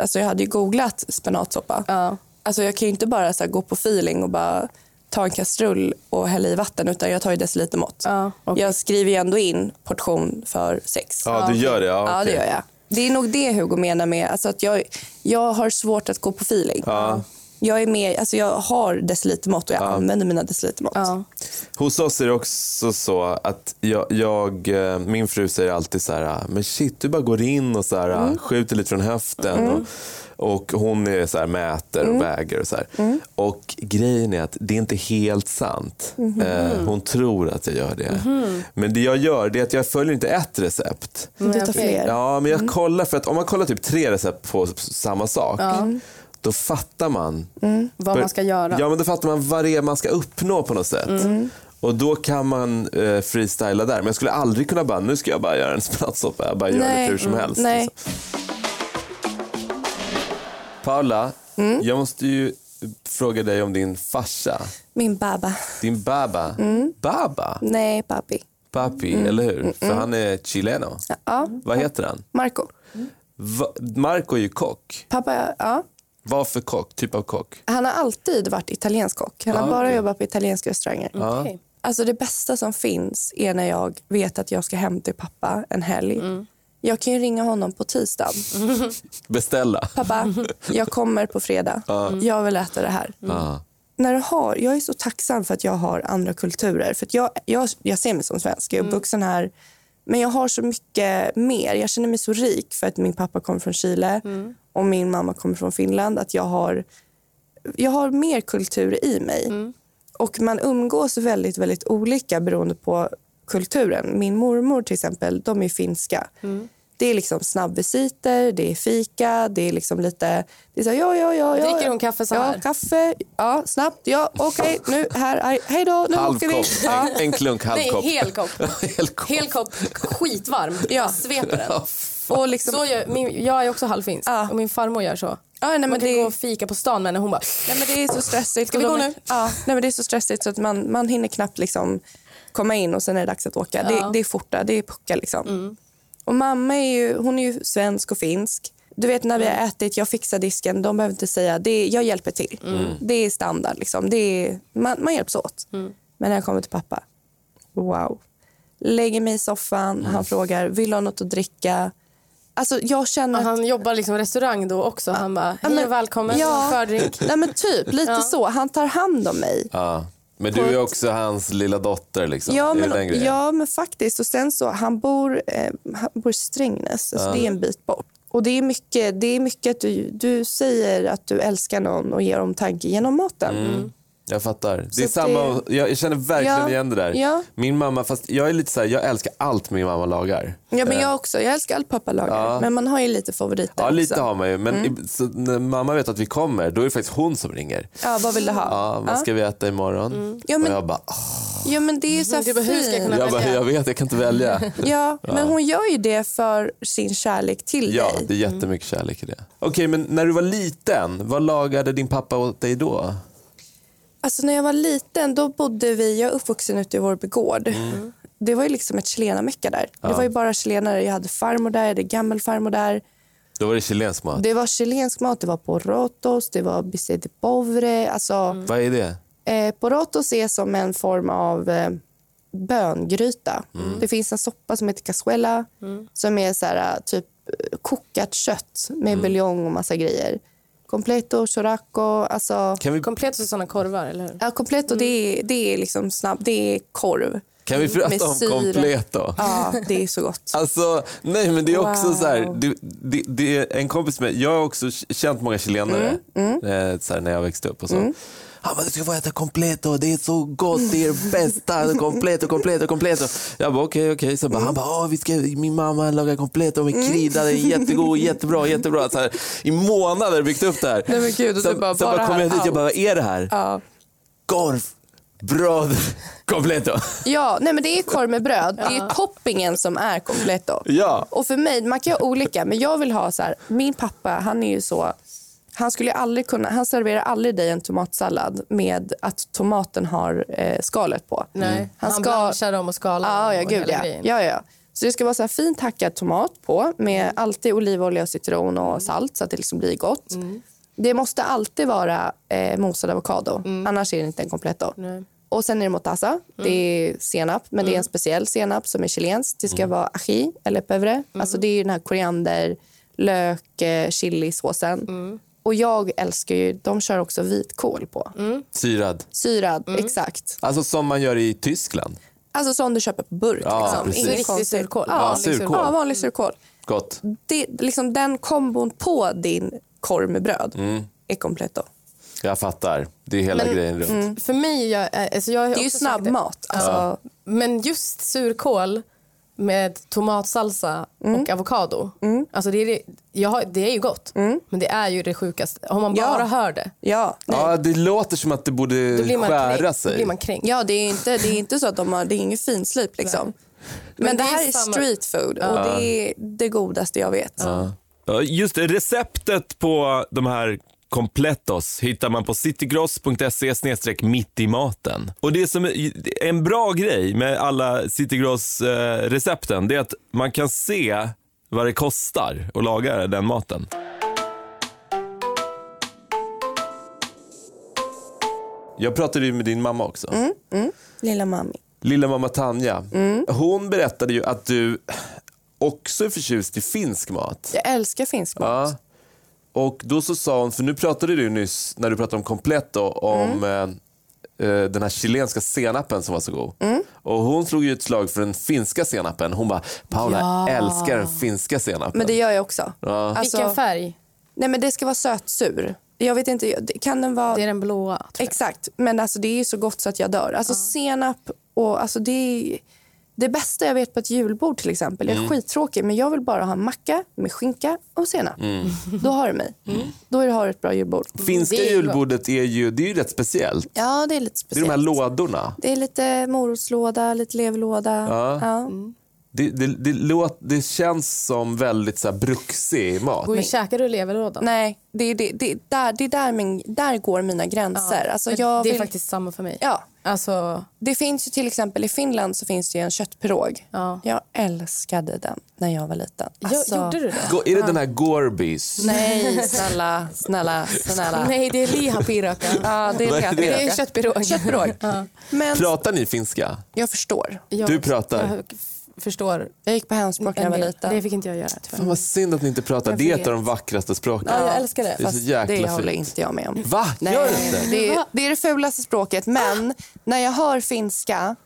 Speaker 3: alltså jag hade ju googlat spenatsoppa.
Speaker 2: Ja.
Speaker 3: Alltså jag kan ju inte bara så här gå på feeling och bara ta en kastrull och hälla i vatten utan jag tar ju decilitermått.
Speaker 2: Ja, okej.
Speaker 3: Jag skriver ju ändå in portion för sex.
Speaker 1: Ja, du gör det? Ja,
Speaker 3: Ja, det
Speaker 1: okej.
Speaker 3: gör jag. Det är nog det Hugo menar med alltså att jag, jag har svårt att gå på feeling. Jag, är med, alltså jag har decilitermått och jag använder mina decilitermått.
Speaker 2: Ja.
Speaker 1: Hos oss är det också så att jag, jag, eh, min fru säger alltid så här, "Ah, men shit du bara går in och så här, ah, skjuter lite från höften. Och, och hon är så här, mäter och väger och så här. Och grejen är att det är inte helt sant. Eh, hon tror att jag gör det. Men det jag gör det är att jag följer inte ett recept.
Speaker 3: Du tar
Speaker 2: okej.
Speaker 3: fler.
Speaker 1: Ja, men jag kollar för att om man kollar typ tre recept på s- samma sak, då fattar man
Speaker 2: Vad man ska göra.
Speaker 1: Ja, men då fattar man vad det är man ska uppnå på något sätt. Och då kan man eh, freestyla där. Men jag skulle aldrig kunna bara, nu ska jag bara göra en spenatsoppa. Jag bara gör
Speaker 3: Nej.
Speaker 1: lite hur som helst.
Speaker 3: Nej.
Speaker 1: Liksom. Paula, jag måste ju fråga dig om din farsa.
Speaker 3: Min baba.
Speaker 1: Din baba. Baba?
Speaker 3: Nej, babi.
Speaker 1: Papi, eller hur? För han är chileno.
Speaker 3: Ja,
Speaker 1: Vad heter han?
Speaker 3: Marco.
Speaker 1: Va- Marco är ju kock.
Speaker 3: Pappa, ja.
Speaker 1: Vad för kock? Typ av kock?
Speaker 3: Han har alltid varit italiensk kock. Han har bara jobbat på italienska restauranger.
Speaker 2: Okej.
Speaker 3: Alltså det bästa som finns är när jag vet att jag ska hem till pappa en helg.
Speaker 2: Mm.
Speaker 3: Jag kan ju ringa honom på tisdag.
Speaker 1: Beställa?
Speaker 3: Pappa, jag kommer på fredag. Jag vill äta det här.
Speaker 1: Ja.
Speaker 3: När du har, jag är så tacksam för att jag har andra kulturer. För att jag, jag, jag ser mig som svensk. Jag
Speaker 2: Mm.
Speaker 3: är uppvuxen här. Men jag har så mycket mer. Jag känner mig så rik för att min pappa kommer från Chile
Speaker 2: Mm.
Speaker 3: och min mamma kommer från Finland. Att jag har, jag har mer kultur i mig.
Speaker 2: Mm.
Speaker 3: Och man umgås väldigt, väldigt olika beroende på kulturen. Min mormor till exempel, de är finska.
Speaker 2: Mm.
Speaker 3: Det är liksom snabbvisiter, det är fika, det är liksom lite... Det är så här, ja, ja, ja, ja.
Speaker 2: Dricker hon kaffe så här?
Speaker 3: Ja, kaffe. Ja, snabbt. Ja, okej, nu, här, aj, hej då, nu
Speaker 1: Halv
Speaker 3: åker vi.
Speaker 1: kopp.
Speaker 3: Ja.
Speaker 1: En, en klunk halv
Speaker 2: Nej,
Speaker 1: kopp.
Speaker 2: hel kopp.
Speaker 1: Hel kopp.
Speaker 2: Hel kopp, skitvarm.
Speaker 3: Ja.
Speaker 2: Jag sveper den.
Speaker 3: Och liksom,
Speaker 2: Så gör, min, jag är också halvfinsk
Speaker 3: Ja.
Speaker 2: och min farmor gör så.
Speaker 3: Ja, nej, men
Speaker 2: Man kan
Speaker 3: det-
Speaker 2: gå och fika på stan med henne hon bara
Speaker 3: nej, men det är så stressigt. Ska
Speaker 2: vi gå nu?
Speaker 3: Ja, nej, men det är så stressigt så att man, man hinner knappt liksom komma in och sen är det dags att åka. Det, det är forta, det är pucka liksom.
Speaker 2: Mm.
Speaker 3: Och mamma är ju, hon är ju svensk och finsk. Du vet när vi
Speaker 2: Mm.
Speaker 3: har ätit, jag fixar disken, de behöver inte säga, det är, jag hjälper till.
Speaker 2: Mm.
Speaker 3: Det är standard liksom. Det är, man, man hjälps åt.
Speaker 2: Mm.
Speaker 3: Men när jag kommer till pappa, wow. Lägger mig i soffan, han frågar, vill du ha något att dricka? Alltså jag känner att
Speaker 2: Han jobbar liksom restaurang då också. Han bara, hej
Speaker 3: men-
Speaker 2: och välkommen,
Speaker 3: Ja.
Speaker 2: fördrink.
Speaker 3: Nej, men typ, lite
Speaker 2: Ja.
Speaker 3: så. Han tar hand om mig.
Speaker 1: Ja. Men du är också hans lilla dotter. Liksom.
Speaker 3: Ja
Speaker 1: är det
Speaker 3: men,
Speaker 1: den grejen?
Speaker 3: ja, men faktiskt. Och sen så, han bor, eh, han bor i Strängnäs, alltså det är en bit bort. Och det är mycket, det är mycket att du, du säger att du älskar någon och ger omtanke genom maten.
Speaker 1: Mm. Jag fattar. Det är
Speaker 3: att
Speaker 1: samma, jag, jag känner verkligen
Speaker 3: Ja,
Speaker 1: igen det där.
Speaker 3: ja.
Speaker 1: Min mamma, fast jag är lite så här, jag älskar allt min mamma lagar.
Speaker 3: Ja, men jag också. Jag älskar allt pappa lagar. Men man har ju lite favoriter
Speaker 1: Ja, lite
Speaker 3: också. Mm.
Speaker 1: har man ju. Men i, så när mamma vet att vi kommer, då är det faktiskt hon som ringer.
Speaker 3: Ja, vad vill du ha? Ja, Mm.
Speaker 1: Ja, vad ska vi äta imorgon?
Speaker 3: Ja, men-
Speaker 1: Och jag bara, "Åh."
Speaker 3: men det är så här
Speaker 2: Du Mm. bara, hur ska jag kunna-
Speaker 3: fint.
Speaker 1: jag, bara
Speaker 2: välja.
Speaker 1: jag vet, jag kan inte välja.
Speaker 3: Ja, men hon gör ju det för sin kärlek till
Speaker 1: Ja,
Speaker 3: dig.
Speaker 1: det är jättemycket kärlek i det. Okej, men när du var liten, vad lagade din pappa åt dig då?
Speaker 3: Alltså när jag var liten då bodde vi, jag är uppvuxen ute i Vårby gård. Det var ju liksom ett chilenamecka där. Det var ju bara chilenare. Jag hade farmor där, jag hade gammelfarmor där.
Speaker 1: Då var det chilensk mat.
Speaker 3: Det var chilensk mat, det var porotos, det var bistec de povre. Alltså,
Speaker 1: Vad är det?
Speaker 3: eh, porotos är som en form av eh, böngryta. Det finns en soppa som heter cazuela som är så här, eh, typ eh, kokat kött med buljong och massa grejer. Completo, choraco, alltså...
Speaker 1: Kan vi,
Speaker 2: Komplett och sådana korvar, eller hur?
Speaker 3: Ja, completo det, är, det är liksom snabb, det är korv.
Speaker 1: kan vi
Speaker 3: Med
Speaker 1: prata om
Speaker 3: syra.
Speaker 1: komplet då?
Speaker 3: Ja, det är så gott.
Speaker 1: Alltså, nej men det är också
Speaker 3: Wow.
Speaker 1: så här, det, det, det är en kompis med, jag har också k- känt många chilenare
Speaker 3: Mm,
Speaker 1: Eh, så här, när jag växte upp och så. Han bara, du ska få äta completo, det är så gott, det är det bästa, completo, completo, completo. Jag bara okej, okej. Så
Speaker 3: Mm.
Speaker 1: bara, Han bara, "Åh, vi ska, min mamma lagar completo med krydda, den är jättegod, jättebra, jättebra. Så här, I månader byggt upp det här.
Speaker 3: Nej, men gud, och du
Speaker 1: sen
Speaker 3: bara,
Speaker 1: sen
Speaker 3: bara
Speaker 1: kom jag
Speaker 3: här,
Speaker 1: dit, jag bara, vad är det här?
Speaker 3: Ja.
Speaker 1: Korv, bröd, completo.
Speaker 3: Ja, nej men det är korv med bröd. Det är toppingen som är completo.
Speaker 1: Ja.
Speaker 3: Och för mig, man kan ju ha olika, men jag vill ha så här, min pappa han är ju så, han skulle ju aldrig kunna, han serverar aldrig dig en tomatsallad med att tomaten har eh, skalet på.
Speaker 2: Nej.
Speaker 3: Han
Speaker 2: Han,
Speaker 3: ska-
Speaker 2: blanchar dem och skalar
Speaker 3: Ja,
Speaker 2: dem
Speaker 3: ja
Speaker 2: och
Speaker 3: gud
Speaker 2: hela
Speaker 3: ja.
Speaker 2: grejen.
Speaker 3: ja, ja. Så det ska vara så här fint hackad tomat på med alltid olivolja, och citron och salt så att det liksom blir gott.
Speaker 2: Mm.
Speaker 3: Det måste alltid vara eh, mosad avokado, annars är det inte en completo.
Speaker 2: Mm. Nej. Mm.
Speaker 3: Och sen är det mostaza, det är senap, men det är en speciell senap som är chilensk. Det ska vara aji eller pevre.
Speaker 2: Mm.
Speaker 3: Alltså det är ju den här koriander, lök, eh, chilisåsen.
Speaker 2: Mm.
Speaker 3: Och jag älskar ju, de kör också vitkål på.
Speaker 2: Mm.
Speaker 1: Syrad.
Speaker 3: Syrad, exakt.
Speaker 1: Alltså som man gör i Tyskland.
Speaker 3: Alltså sån du köper på burk.
Speaker 1: Ja,
Speaker 3: liksom.
Speaker 1: precis.
Speaker 3: Inget
Speaker 2: Riktig
Speaker 3: konstigt.
Speaker 2: surkål.
Speaker 3: Ja, liksom.
Speaker 1: Vanlig surkål.
Speaker 3: Ja, vanlig surkål.
Speaker 1: Gott.
Speaker 3: Det, liksom den kombon på din korv med bröd
Speaker 1: Mm.
Speaker 3: är komplett. Då.
Speaker 1: Jag fattar. Det är hela grejen runt.
Speaker 2: För mig, jag, alltså jag har
Speaker 3: Det är ju
Speaker 2: också sagt
Speaker 3: snabbmat. Alltså,
Speaker 2: Men just surkål med tomatsalsa
Speaker 3: Mm.
Speaker 2: och avokado. Alltså det, är, det- jag har, det är ju gott, men det är ju det sjukaste. Om man
Speaker 3: Mm. Ja.
Speaker 2: bara hör det,
Speaker 3: ja.
Speaker 1: Ja, det låter som att det borde
Speaker 2: då blir man
Speaker 1: skära
Speaker 2: kränkt. Då
Speaker 1: sig.
Speaker 2: blir man kränkt.
Speaker 3: ja, det är inte, det är inte så att de har, det är ingen finslip. Liksom. Men,
Speaker 2: Men
Speaker 3: det,
Speaker 2: det är
Speaker 3: här är
Speaker 2: samma-
Speaker 3: street food och det är det godaste jag vet.
Speaker 4: Ja, Just det, receptet på de här Completos hittar man på citygross.se mitt i maten. Och det som är en bra grej med alla Citygross eh, recepten det är att man kan se vad det kostar att laga den maten.
Speaker 1: Jag pratade ju med din mamma också.
Speaker 3: Lilla mami.
Speaker 1: Lilla mamma Tanja. Hon berättade ju att du också är förtjust i finsk mat.
Speaker 3: Jag älskar finsk mat.
Speaker 1: Ja. Och då så sa hon, för nu pratade du nyss, när du pratade om komplett då, om eh, eh, den här chilenska senapen som var så god. Och hon slog ju ett slag för den finska senapen. Hon bara, Paula älskar den finska senapen.
Speaker 3: Men det gör jag också.
Speaker 1: Ja.
Speaker 3: Alltså,
Speaker 2: Vilken färg?
Speaker 3: Nej men det ska vara sötsur. Jag vet inte, jag- det- kan den vara...
Speaker 2: Det är den blåa. tror jag.
Speaker 3: Exakt, men alltså det är ju så gott så att jag dör. Alltså senap och alltså det är det bästa jag vet på ett julbord till exempel. Jag är
Speaker 2: Mm.
Speaker 3: skittråkig men jag vill bara ha en macka med skinka och senap.
Speaker 2: Mm.
Speaker 3: Då har du mig. Då är det- har du ett bra julbord.
Speaker 1: Finska
Speaker 2: Det är ju
Speaker 1: julbordet är ju, det är ju rätt speciellt.
Speaker 3: Ja, det är lite
Speaker 1: Det är
Speaker 3: speciellt.
Speaker 1: de här lådorna.
Speaker 3: Det är lite morotslåda, lite leverlåda.
Speaker 1: Ja.
Speaker 3: Ja.
Speaker 2: Mm.
Speaker 1: Det, det, det, låt, det känns som väldigt så här bruxig mat.
Speaker 2: Men käkar du leverlådan?
Speaker 3: Nej, det är, det, det, är där, det är där, min, där går mina gränser. Alltså
Speaker 2: Men
Speaker 3: jag
Speaker 2: det är
Speaker 3: vill,
Speaker 2: faktiskt samma för mig.
Speaker 3: ja,
Speaker 2: Alltså,
Speaker 3: det finns ju till exempel i Finland så finns det ju en köttpirog.
Speaker 2: Ja.
Speaker 3: Jag älskade den när jag var liten. Alltså-
Speaker 2: jag, gjorde du det?
Speaker 1: Gå- Är det den här Gorbys?
Speaker 3: Nej, snälla, snälla, snälla.
Speaker 2: Nej, det är lihapiröka.
Speaker 3: Ja, det
Speaker 1: Vad
Speaker 3: är
Speaker 1: är det?
Speaker 3: det.
Speaker 2: Det är köttpirog.
Speaker 3: Köttpirog. Men
Speaker 1: Pratar ni finska?
Speaker 3: jag förstår.
Speaker 2: Jag-
Speaker 1: Du pratar.
Speaker 2: Jag f- förstår.
Speaker 3: Jag gick på hemspråk när jag var
Speaker 2: En del. Det
Speaker 3: liten.
Speaker 2: fick inte jag göra
Speaker 1: Fan
Speaker 2: tyvärr.
Speaker 1: vad synd att ni inte pratar.
Speaker 2: Jag
Speaker 1: Det är ett
Speaker 2: vet.
Speaker 1: av de vackraste språken.
Speaker 2: Ja, jag älskar det.
Speaker 1: Det är så
Speaker 3: Fast det
Speaker 1: jäkla
Speaker 3: håller
Speaker 1: fint.
Speaker 3: inte jag med om.
Speaker 1: Va?
Speaker 3: Nej,
Speaker 1: Gör du inte? Ah.
Speaker 3: det, är, det är det fulaste språket. Men när jag hör finska...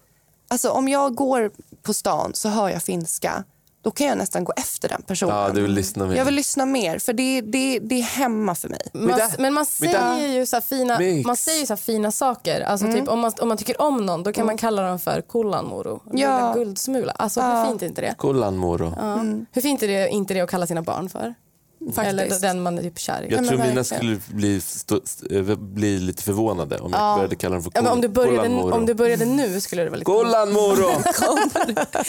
Speaker 3: Alltså om jag går på stan så hör jag finska. Då kan jag nästan gå efter den personen.
Speaker 1: Ja, du vill lyssna mer.
Speaker 3: Jag vill lyssna mer, för det, det, det är hemma för mig.
Speaker 2: Man,
Speaker 1: där-
Speaker 2: men man
Speaker 1: men där-
Speaker 2: säger, ju så här fina,
Speaker 1: Mix.
Speaker 2: man säger ju så här fina saker. Alltså
Speaker 3: Mm.
Speaker 2: typ, om, man, om man tycker om någon då kan man kalla dem för kollanmoro. Lilla guldsmula. Alltså, Hur fint är inte det?
Speaker 1: Kollanmoro.
Speaker 2: Ja. Hur fint är det, inte det att kalla sina barn för?
Speaker 3: Mm. Faktiskt.
Speaker 2: Eller den man är typ kär i.
Speaker 1: Jag
Speaker 3: men
Speaker 1: tror mina skulle
Speaker 3: verkligen.
Speaker 1: bli, stå, st- eh, bli lite förvånade om jag började kalla dem för
Speaker 2: Ja,
Speaker 1: kol,
Speaker 2: men om, du började,
Speaker 1: kollanmoro.
Speaker 2: om du började nu skulle det vara lite
Speaker 1: Kollanmoro!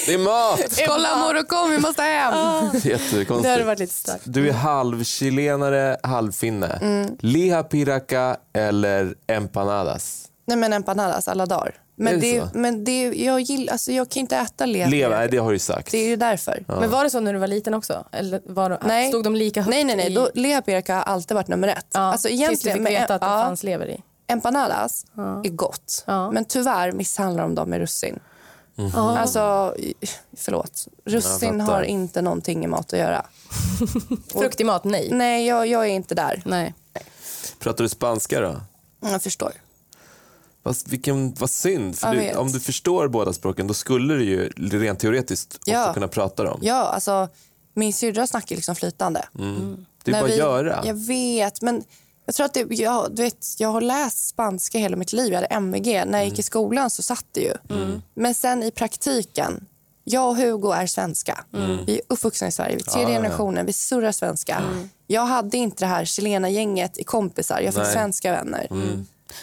Speaker 1: det är mat!
Speaker 3: Kolla mor och kom, vi måste hem!
Speaker 2: Det hade
Speaker 1: Jättekonstigt.
Speaker 2: varit lite starkt.
Speaker 1: Du är halvchilenare, halvfinne.
Speaker 2: Mm.
Speaker 1: Liha piraca eller empanadas?
Speaker 3: Nej men empanadas alla dagar.
Speaker 1: Är
Speaker 3: Men,
Speaker 1: det
Speaker 3: det
Speaker 1: så?
Speaker 3: men det jag gillar, alltså jag kan inte äta lever.
Speaker 1: Leva, nej, det har du ju sagt.
Speaker 3: Det är ju därför.
Speaker 2: Men var det så när du var liten också? Eller var de,
Speaker 3: Nej.
Speaker 2: Stod de lika högt
Speaker 3: Nej, nej, nej.
Speaker 2: i-
Speaker 3: Då, leverpirka har alltid varit nummer ett.
Speaker 2: Ja,
Speaker 3: alltså, egentligen,
Speaker 2: tills du fick veta att det
Speaker 3: ja,
Speaker 2: fanns lever i.
Speaker 3: Empanadas är gott,
Speaker 2: Ja.
Speaker 3: men tyvärr misshandlar de dem med russin. Alltså, i- förlåt. Russin
Speaker 1: Mhm. Jag fattar.
Speaker 3: har inte någonting i mat att göra.
Speaker 2: Fruktig mat, nej.
Speaker 3: Nej, jag, jag är inte där.
Speaker 2: Nej.
Speaker 1: Pratar du spanska då?
Speaker 3: Jag förstår.
Speaker 1: Vad, vilken, vad synd, för
Speaker 3: Jag
Speaker 1: du,
Speaker 3: vet.
Speaker 1: om du förstår båda språken då skulle du ju rent teoretiskt också
Speaker 3: Ja.
Speaker 1: kunna prata dem.
Speaker 3: Ja, alltså, min syrra snackar liksom flytande.
Speaker 1: Det är
Speaker 3: När
Speaker 1: bara att
Speaker 3: vi-
Speaker 1: göra.
Speaker 3: Jag vet, men jag tror att det, jag, du vet, jag har läst spanska hela mitt liv. Jag hade MVG. När
Speaker 1: Mm.
Speaker 3: jag gick i skolan så satt det ju. Men sen i praktiken, jag och Hugo är svenska. Vi är uppvuxna i Sverige. Vi är tredje
Speaker 1: Mm. Ja, Mm. ja.
Speaker 3: generationen. Vi surrar svenska. Jag hade inte det här chilenagänget i kompisar. Jag fick
Speaker 1: Nej. Mm.
Speaker 3: svenska vänner.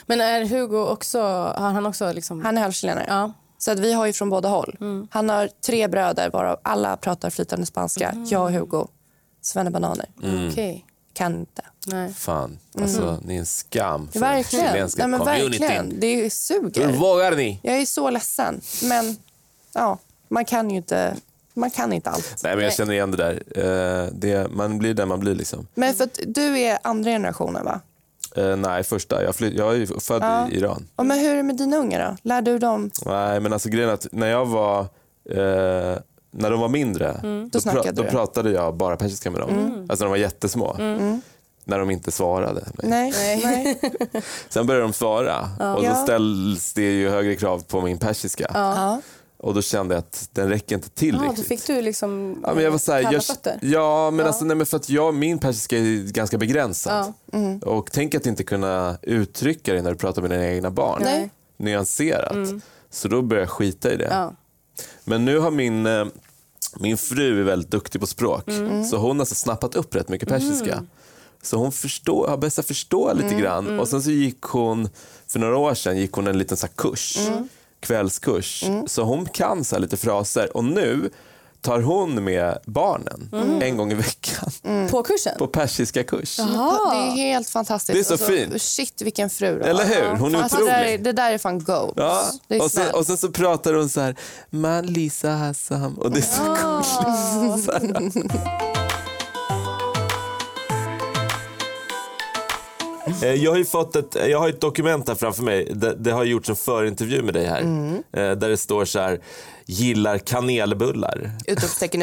Speaker 2: Men är Hugo också, har han också liksom...
Speaker 3: Han är halvchilenare.
Speaker 2: Ja.
Speaker 3: Så att vi har ju från båda håll. Han har tre bröder varav alla pratar flytande spanska. Jag och Hugo, bananer.
Speaker 1: Mm.
Speaker 2: Okej.
Speaker 3: Kan inte.
Speaker 2: Nej.
Speaker 1: Fan, alltså ni är en skam för den
Speaker 3: Mm. Verkligen.
Speaker 1: chilenska
Speaker 3: Nej, men
Speaker 1: communityn.
Speaker 3: verkligen. Det är ju
Speaker 1: Hur
Speaker 3: suger.
Speaker 1: vågar ni?
Speaker 3: Jag är så ledsen. Men ja, man kan ju inte, man kan inte allt.
Speaker 1: Nej men jag känner igen det där. Eh, det, man blir den man blir liksom.
Speaker 3: Men för att du är andra generationen, va?
Speaker 1: Eh, nej första, jag, fly- jag är ju född i Iran.
Speaker 3: Och men hur är det med dina ungar? då? Lär du dem?
Speaker 1: Nej men alltså grejen är att när jag var, eh, när de var mindre då,
Speaker 3: Mm. snackade
Speaker 1: då
Speaker 3: du. Mm.
Speaker 1: pratade jag bara persiska med dem. Alltså när de var jättesmå. När de inte svarade. mig.
Speaker 3: Nej. Nej.
Speaker 1: Sen började de svara och då
Speaker 3: Ja.
Speaker 1: ställs det ju högre krav på min persiska.
Speaker 3: Ja.
Speaker 1: Och då kände jag att den räcker inte till
Speaker 2: Ja, då
Speaker 1: riktigt.
Speaker 2: fick du liksom
Speaker 1: Ja, men jag var så här,
Speaker 2: kalla
Speaker 1: jag,
Speaker 2: fötter.
Speaker 1: ja, men Alltså, nej, men för att jag, min persiska är ganska begränsad.
Speaker 2: Mm.
Speaker 1: Och tänk att inte kunna uttrycka det när du pratar med dina egna barn.
Speaker 2: Nej. Mm.
Speaker 1: Nyanserat. Så då började jag skita i det.
Speaker 2: Ja.
Speaker 1: Men nu har min, eh, min fru är väldigt duktig på språk. Så hon har alltså snappat upp rätt mycket persiska. Så hon förstår, har börjat förstå lite grann. Och sen så gick hon, för några år sedan, gick hon en liten så här kurs. Kvällskurs. Så hon kan så här lite fraser. Och nu tar hon med barnen en gång i veckan
Speaker 2: På kursen?
Speaker 1: på persiska kurs.
Speaker 3: Det är helt fantastiskt. Alltså,
Speaker 1: Det är så fint.
Speaker 3: Shit, vilken fru du
Speaker 1: Eller
Speaker 3: har.
Speaker 1: hur? Hon är
Speaker 3: Alltså, det, där, är-
Speaker 1: otrolig.
Speaker 3: det där är fan goals.
Speaker 1: Ja,
Speaker 3: Det är
Speaker 1: och, sen,
Speaker 3: snällt.
Speaker 1: och sen så pratar hon så här, man Lisa Hassam. Och det är så gulligt. Så här. Eh, Jag har ju fått ett, jag har ett dokument här framför mig. Det, det har gjorts en förintervju med dig här. Eh, Där det står så här, gillar kanelbullar.
Speaker 3: Utropstecken,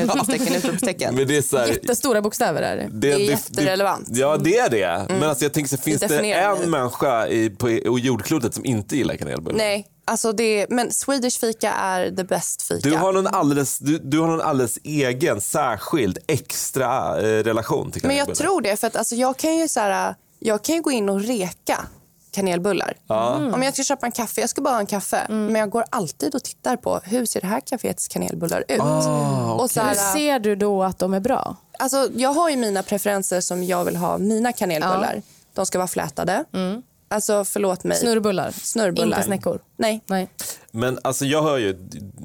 Speaker 3: utropstecken, utropstecken.
Speaker 1: Men det är så här,
Speaker 2: Jättestora bokstäver är det.
Speaker 3: Det är jätterelevant.
Speaker 1: ja, det är det. Men alltså, jag tänker, så finns det
Speaker 3: definierar
Speaker 1: en
Speaker 3: nu.
Speaker 1: människa i, på på jordklotet som inte gillar kanelbullar?
Speaker 3: Nej, alltså det, men Swedish fika är the best fika.
Speaker 1: Du har, någon alldeles, du, du har någon alldeles egen, särskild, extra eh, relation till
Speaker 3: Men
Speaker 1: kanelbullar.
Speaker 3: jag tror det, för att alltså, jag kan ju så här, jag kan ju gå in och reka kanelbullar. Om jag ska köpa en kaffe, jag ska bara ha en kaffe,
Speaker 2: Mm.
Speaker 3: men jag går alltid och tittar på hur ser det här kaféets kanelbullar ut? och
Speaker 2: Hur
Speaker 3: så här,
Speaker 2: ser du då att de är bra?
Speaker 3: alltså, jag har ju mina preferenser som jag vill ha mina kanelbullar. De ska vara flätade. Alltså förlåt mig.
Speaker 2: Mm. Snurrbullar?
Speaker 3: Snurrbullar.
Speaker 2: Inte snäckor?
Speaker 3: Nej.
Speaker 2: Nej.
Speaker 1: Men alltså jag hör ju,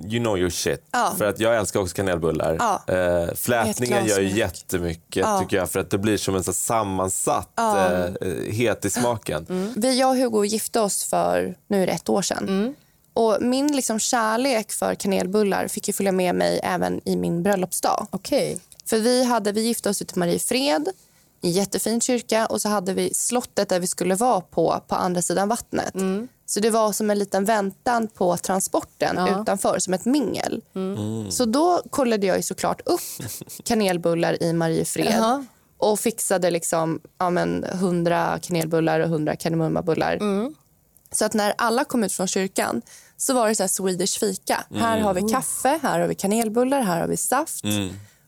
Speaker 1: you know your shit.
Speaker 3: Ja.
Speaker 1: För att jag älskar också kanelbullar.
Speaker 3: Ja.
Speaker 1: Eh, flätningen
Speaker 3: Ett glas
Speaker 1: gör ju
Speaker 3: mjölk.
Speaker 1: jättemycket tycker jag för att det blir som en så här sammansatt eh, eh, het i smaken.
Speaker 2: Mm.
Speaker 3: Vi, jag och Hugo gifte oss för nu är det ett år sedan. Och min liksom, kärlek för kanelbullar fick ju följa med mig även i min bröllopsdag.
Speaker 2: Okej.
Speaker 3: För vi, hade, vi gifte oss ute i Mariefred, i en jättefin kyrka och så hade vi slottet där vi skulle vara på, på andra sidan vattnet. Så det var som en liten väntan på transporten utanför, som ett mingel. Så då kollade jag ju såklart upp kanelbullar i Mariefred
Speaker 2: Jaha.
Speaker 3: och fixade liksom, ja, men, 100 kanelbullar och 100 kardemummabullar. Så att när alla kom ut från kyrkan så var det så här Swedish fika. Här har
Speaker 1: Mm.
Speaker 3: vi kaffe, här har vi kanelbullar, här har vi saft.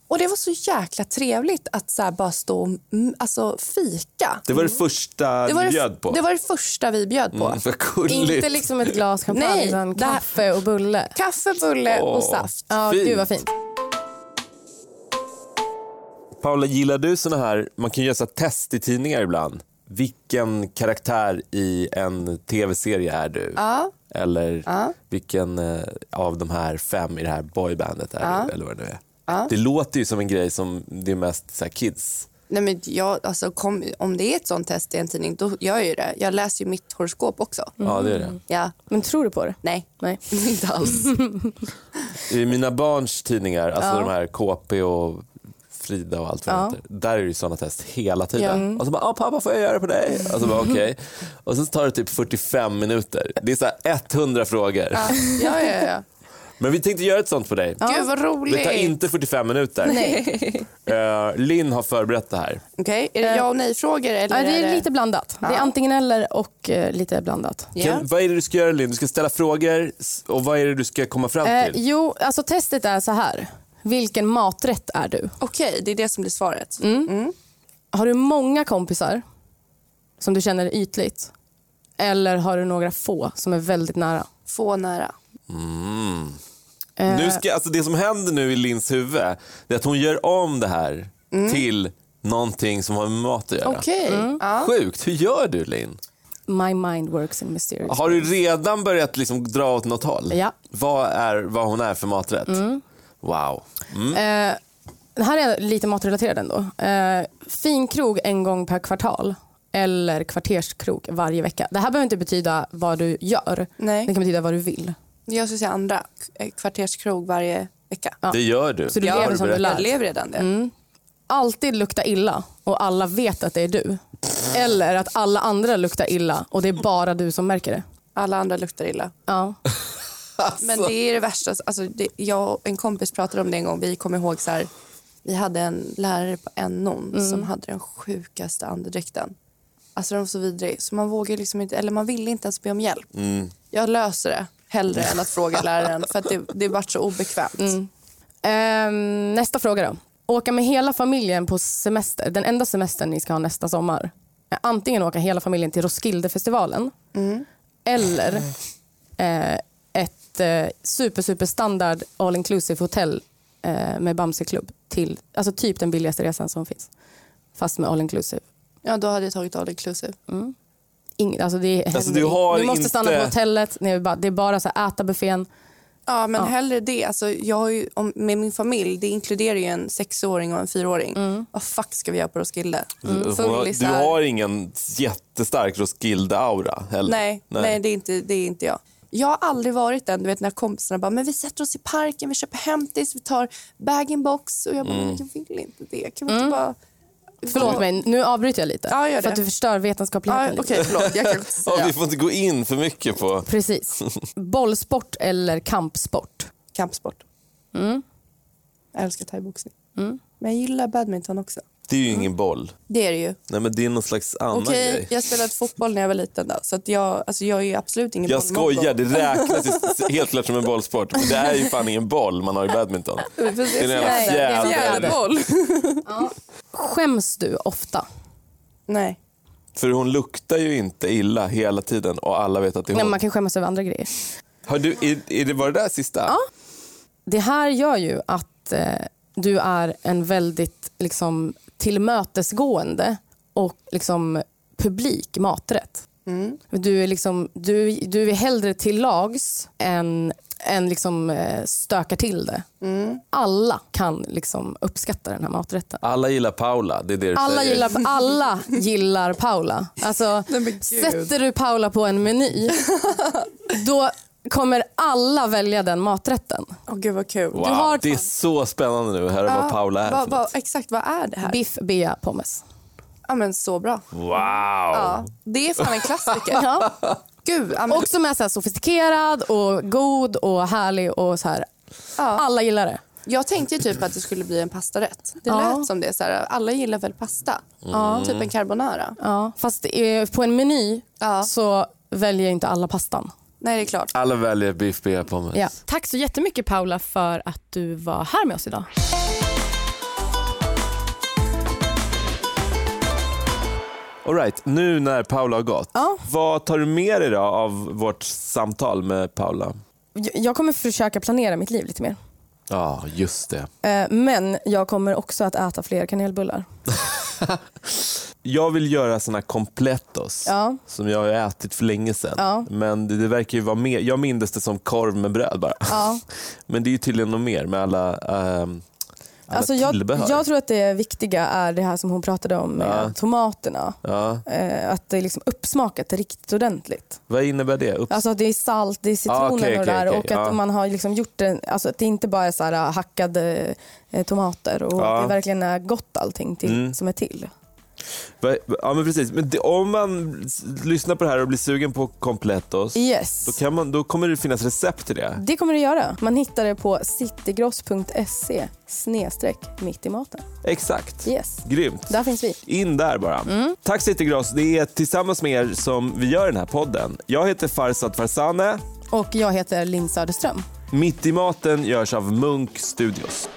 Speaker 3: Och det var så jäkla trevligt att så här bara stå och mm, alltså, fika.
Speaker 1: Det var det första
Speaker 3: var
Speaker 1: du
Speaker 3: det,
Speaker 1: bjöd på.
Speaker 3: det var det första vi bjöd på.
Speaker 1: Mm, Vad gulligt.
Speaker 2: Inte liksom ett glas champagne
Speaker 3: Nej,
Speaker 2: utan
Speaker 3: det här-
Speaker 2: kaffe och bulle?
Speaker 3: Kaffe, bulle
Speaker 1: Åh.
Speaker 3: och saft.
Speaker 2: Ja,
Speaker 1: fint.
Speaker 2: gud vad fint.
Speaker 1: Paula, gillar du såna här, man kan ju göra så här test i tidningar ibland. Vilken karaktär i en tv-serie är du? Eller vilken eh, av de här fem i det här boybandet är du? Eller vad det nu är. Det låter ju som en grej som det är mest så här, kids.
Speaker 3: Nej, men jag, alltså, kom, om det är ett sånt test i en tidning, då gör jag ju det. Jag läser ju mitt horoskop också.
Speaker 1: Ja, det är det.
Speaker 3: Ja,
Speaker 2: Men tror du på det?
Speaker 3: nej.
Speaker 2: Nej.
Speaker 3: Inte alls.
Speaker 1: I mina barns tidningar, alltså de här KP och Frida och allt vad det heter. Där är det ju sådana test hela tiden. Och så bara, ah, pappa får jag göra det på dig? Och så bara, okej. Och sen tar det typ 45 minuter. Det är så här 100 frågor.
Speaker 3: Ja, ja, ja.
Speaker 1: Men vi tänkte göra ett sånt för dig.
Speaker 3: Gud, vad roligt.
Speaker 1: Det tar inte 45 minuter.
Speaker 3: Nej.
Speaker 1: Eh, Linn har förberett det här.
Speaker 3: Okej, är
Speaker 1: Eh.
Speaker 3: det ja och nej-frågor? Eller
Speaker 2: Ja, det
Speaker 3: är
Speaker 2: är lite blandat. Det är antingen eller och eh, lite blandat.
Speaker 3: Ja.
Speaker 1: Kan, vad är det du ska göra Linn? Du ska ställa frågor s- och vad är det du ska komma fram
Speaker 2: Eh,
Speaker 1: till?
Speaker 2: jo, alltså testet är så här. Vilken maträtt är du?
Speaker 3: Okej, det är det som blir svaret.
Speaker 1: Mm.
Speaker 2: Har du många kompisar som du känner ytligt? Eller har du några få som är väldigt nära?
Speaker 3: Få nära.
Speaker 2: Eh,
Speaker 1: nu ska, alltså det som händer nu i Linns huvud det är att hon gör om det här
Speaker 2: Mm.
Speaker 1: till någonting som har med mat att göra.
Speaker 3: Okej.
Speaker 1: Mm.
Speaker 3: Ja.
Speaker 1: Sjukt, hur gör du Linn?
Speaker 2: My mind works in mysterious.
Speaker 1: Har du redan börjat liksom dra åt något håll?
Speaker 2: Ja. Mm.
Speaker 1: Vad, är, vad hon är för maträtt? Wow.
Speaker 2: Eh, det här är lite matrelaterad ändå. Eh, finkrog en gång per kvartal eller kvarterskrog varje vecka. Det här behöver inte betyda vad du gör.
Speaker 3: Nej.
Speaker 2: Det kan betyda vad du vill.
Speaker 3: Jag skulle säga andra k- eh, kvarterskrog varje vecka.
Speaker 1: Det gör du.
Speaker 2: Så du
Speaker 1: Har
Speaker 2: lever som du
Speaker 1: berättat? Mm.
Speaker 2: lär.
Speaker 3: Jag lever redan det.
Speaker 2: Alltid lukta illa och alla vet att det är du. Eller att alla andra luktar illa och det är bara du som märker det.
Speaker 3: Alla andra luktar illa.
Speaker 2: Ja.
Speaker 3: Men det är det värsta. Alltså, det, jag och en kompis pratade om det en gång. Vi kom ihåg så här, vi hade en lärare på NO'n
Speaker 1: Mm.
Speaker 3: som hade den sjukaste andedräkten. Alltså den var så vidrig. Så man vågar liksom inte, eller man ville inte ens be om hjälp.
Speaker 1: Mm.
Speaker 3: Jag löser det hellre än att fråga läraren för att det, det vart så obekvämt.
Speaker 1: Mm.
Speaker 2: Ehm, nästa fråga då. Åka med hela familjen på semester, den enda semestern ni ska ha nästa sommar. Eh, Antingen åka hela familjen till Roskildefestivalen
Speaker 3: Mm.
Speaker 2: eller eh, ett eh, super, super standard all inclusive hotell eh, med Bamseklubb till alltså typ den billigaste resan som finns. Fast med all inclusive.
Speaker 3: Ja, då hade jag tagit all inclusive.
Speaker 2: Ing, alltså det är,
Speaker 1: Alltså, du har
Speaker 2: ni måste
Speaker 1: inte-
Speaker 2: stanna på hotellet, ni är bara, det är bara så här, äta buffén.
Speaker 3: Ja, men hellre det. Alltså, jag har ju, om, med min familj, det inkluderar ju en sexåring och en fyraåring.
Speaker 2: Mm.
Speaker 3: Vad fuck ska vi göra på Roskilde?
Speaker 1: Hon har, du
Speaker 3: Fullisar.
Speaker 1: har ingen jättestark Roskilde-aura heller.
Speaker 3: Nej, nej. det, är inte, det är inte jag. Jag har aldrig varit den, du vet när kompisarna bara, men vi sätter oss i parken,
Speaker 1: Mm.
Speaker 3: vi köper hämtis, vi tar bag-in-box och jag bara, men jag vill inte det. Kan vi inte bara
Speaker 2: Mm. Förlåt mig, nu avbryter jag lite.
Speaker 3: Ja, gör
Speaker 2: För
Speaker 3: det.
Speaker 2: att du förstör vetenskapligheten
Speaker 3: Ja,
Speaker 2: lite.
Speaker 3: Okej, förlåt. Jag kan inte
Speaker 1: Ja, vi
Speaker 3: säga
Speaker 1: får inte gå in för mycket på...
Speaker 2: Precis. Bollsport eller kampsport?
Speaker 3: kampsport.
Speaker 2: Mm.
Speaker 3: Jag älskar thaiboxning. Men jag gillar badminton också.
Speaker 1: Det är ju ingen boll.
Speaker 3: Det är det ju.
Speaker 1: Nej, men det är någon slags annan
Speaker 3: Mm. Okej,
Speaker 1: grej.
Speaker 3: jag spelade fotboll när jag var liten. Då, så att jag, alltså jag är ju absolut ingen
Speaker 1: Jag
Speaker 3: bollmongo.
Speaker 1: skojar, det räknas ju helt klart som en bollsport. Men det är ju fan ingen boll man har i badminton.
Speaker 3: Det
Speaker 1: är en jävla
Speaker 3: Nej, det är en
Speaker 2: fjäder.
Speaker 3: jävla boll.
Speaker 2: Skäms du ofta?
Speaker 3: Nej.
Speaker 1: För hon luktar ju inte illa hela tiden och alla vet att det är
Speaker 2: Nej,
Speaker 1: hon.
Speaker 2: man kan skämmas över andra grejer.
Speaker 1: Har du, är, är det var det där sista?
Speaker 2: Det här gör ju att eh, du är en väldigt liksom, tillmötesgående och liksom, publik maträtt.
Speaker 1: Mm.
Speaker 2: Du, är liksom, du, du är hellre till lags än, än liksom, eh, stökar till det.
Speaker 1: Mm.
Speaker 2: Alla kan liksom, uppskatta den här maträtten.
Speaker 1: Alla gillar Paula, det är det du
Speaker 2: Alla
Speaker 1: säger.
Speaker 2: gillar, alla gillar Paula. Alltså,
Speaker 3: Nej, men gud.
Speaker 2: sätter du Paula på en meny då kommer alla välja den maträtten.
Speaker 3: Åh gud vad kul.
Speaker 1: Wow,
Speaker 2: Du har-
Speaker 1: det är så spännande nu att höra vad Paula är
Speaker 3: vad-
Speaker 1: för
Speaker 3: vad-
Speaker 1: något.
Speaker 3: Exakt, vad är det här?
Speaker 2: Biff, bea, pommes.
Speaker 3: Ja, men så bra.
Speaker 1: Wow!
Speaker 3: Ja, det är fan en klassiker.
Speaker 2: Ja.
Speaker 3: Gud, ja, men,
Speaker 2: Och som är så här sofistikerad och god och härlig. och så här. Alla gillar det.
Speaker 3: jag tänkte ju typ att det skulle bli en pastarätt. Det
Speaker 2: Ja.
Speaker 3: lät som det. Så här, alla gillar väl pasta?
Speaker 1: Mm.
Speaker 3: Typ en carbonara.
Speaker 2: Ja. Fast eh, på en meny
Speaker 3: Ja.
Speaker 2: så väljer inte alla pastan.
Speaker 3: Nej, det är klart.
Speaker 1: Alla väljer biff bea pommes.
Speaker 2: Ja.
Speaker 5: Tack så jättemycket Paula för att du var här med oss idag.
Speaker 1: All right, nu när Paula har gått, vad tar du med dig då av vårt samtal med Paula?
Speaker 2: Jag- Jag kommer försöka planera mitt liv lite mer.
Speaker 1: Ja, just det.
Speaker 2: Eh, Men jag kommer också att äta fler kanelbullar.
Speaker 1: Jag vill göra såna här completos
Speaker 2: Ja.
Speaker 1: som jag har ätit för länge sedan.
Speaker 2: Ja.
Speaker 1: Men det, det verkar ju vara mer. Jag mindes det som korv med bröd bara.
Speaker 2: Ja.
Speaker 1: Men det är ju tydligen något mer med alla, ehm, alla
Speaker 2: Alltså jag,
Speaker 1: tillbehör.
Speaker 2: jag tror att det viktiga är det här som hon pratade om med tomaterna.
Speaker 1: Ja.
Speaker 2: Eh, Att det är liksom uppsmakat riktigt ordentligt.
Speaker 1: Vad innebär det? Upp...
Speaker 2: Alltså att det är salt, det är citronen
Speaker 1: Ah, okej,
Speaker 2: och det
Speaker 1: okej,
Speaker 2: där.
Speaker 1: okej,
Speaker 2: och att
Speaker 1: ja.
Speaker 2: man har liksom gjort det, alltså att det inte bara är så här hackade eh, tomater och
Speaker 1: Ja. Mm.
Speaker 2: att det verkligen är gott allting till, som är till.
Speaker 1: Vad- Ja men precis. Men det, om man s- lyssnar på det här och blir sugen på completos,
Speaker 2: Yes.
Speaker 1: då, kan man, då kommer det finnas recept till det.
Speaker 2: Det kommer det göra. Man hittar det på citygross.se snedstreck mitt i maten.
Speaker 1: Exakt.
Speaker 2: Yes.
Speaker 1: Grymt.
Speaker 2: Där finns vi.
Speaker 1: In där bara. Tack Citygross. Det är tillsammans med er som vi gör den här podden. Jag heter Farsad Farsane.
Speaker 2: Och jag heter Linn Söderström.
Speaker 1: Mitt i maten görs av Munk Studios.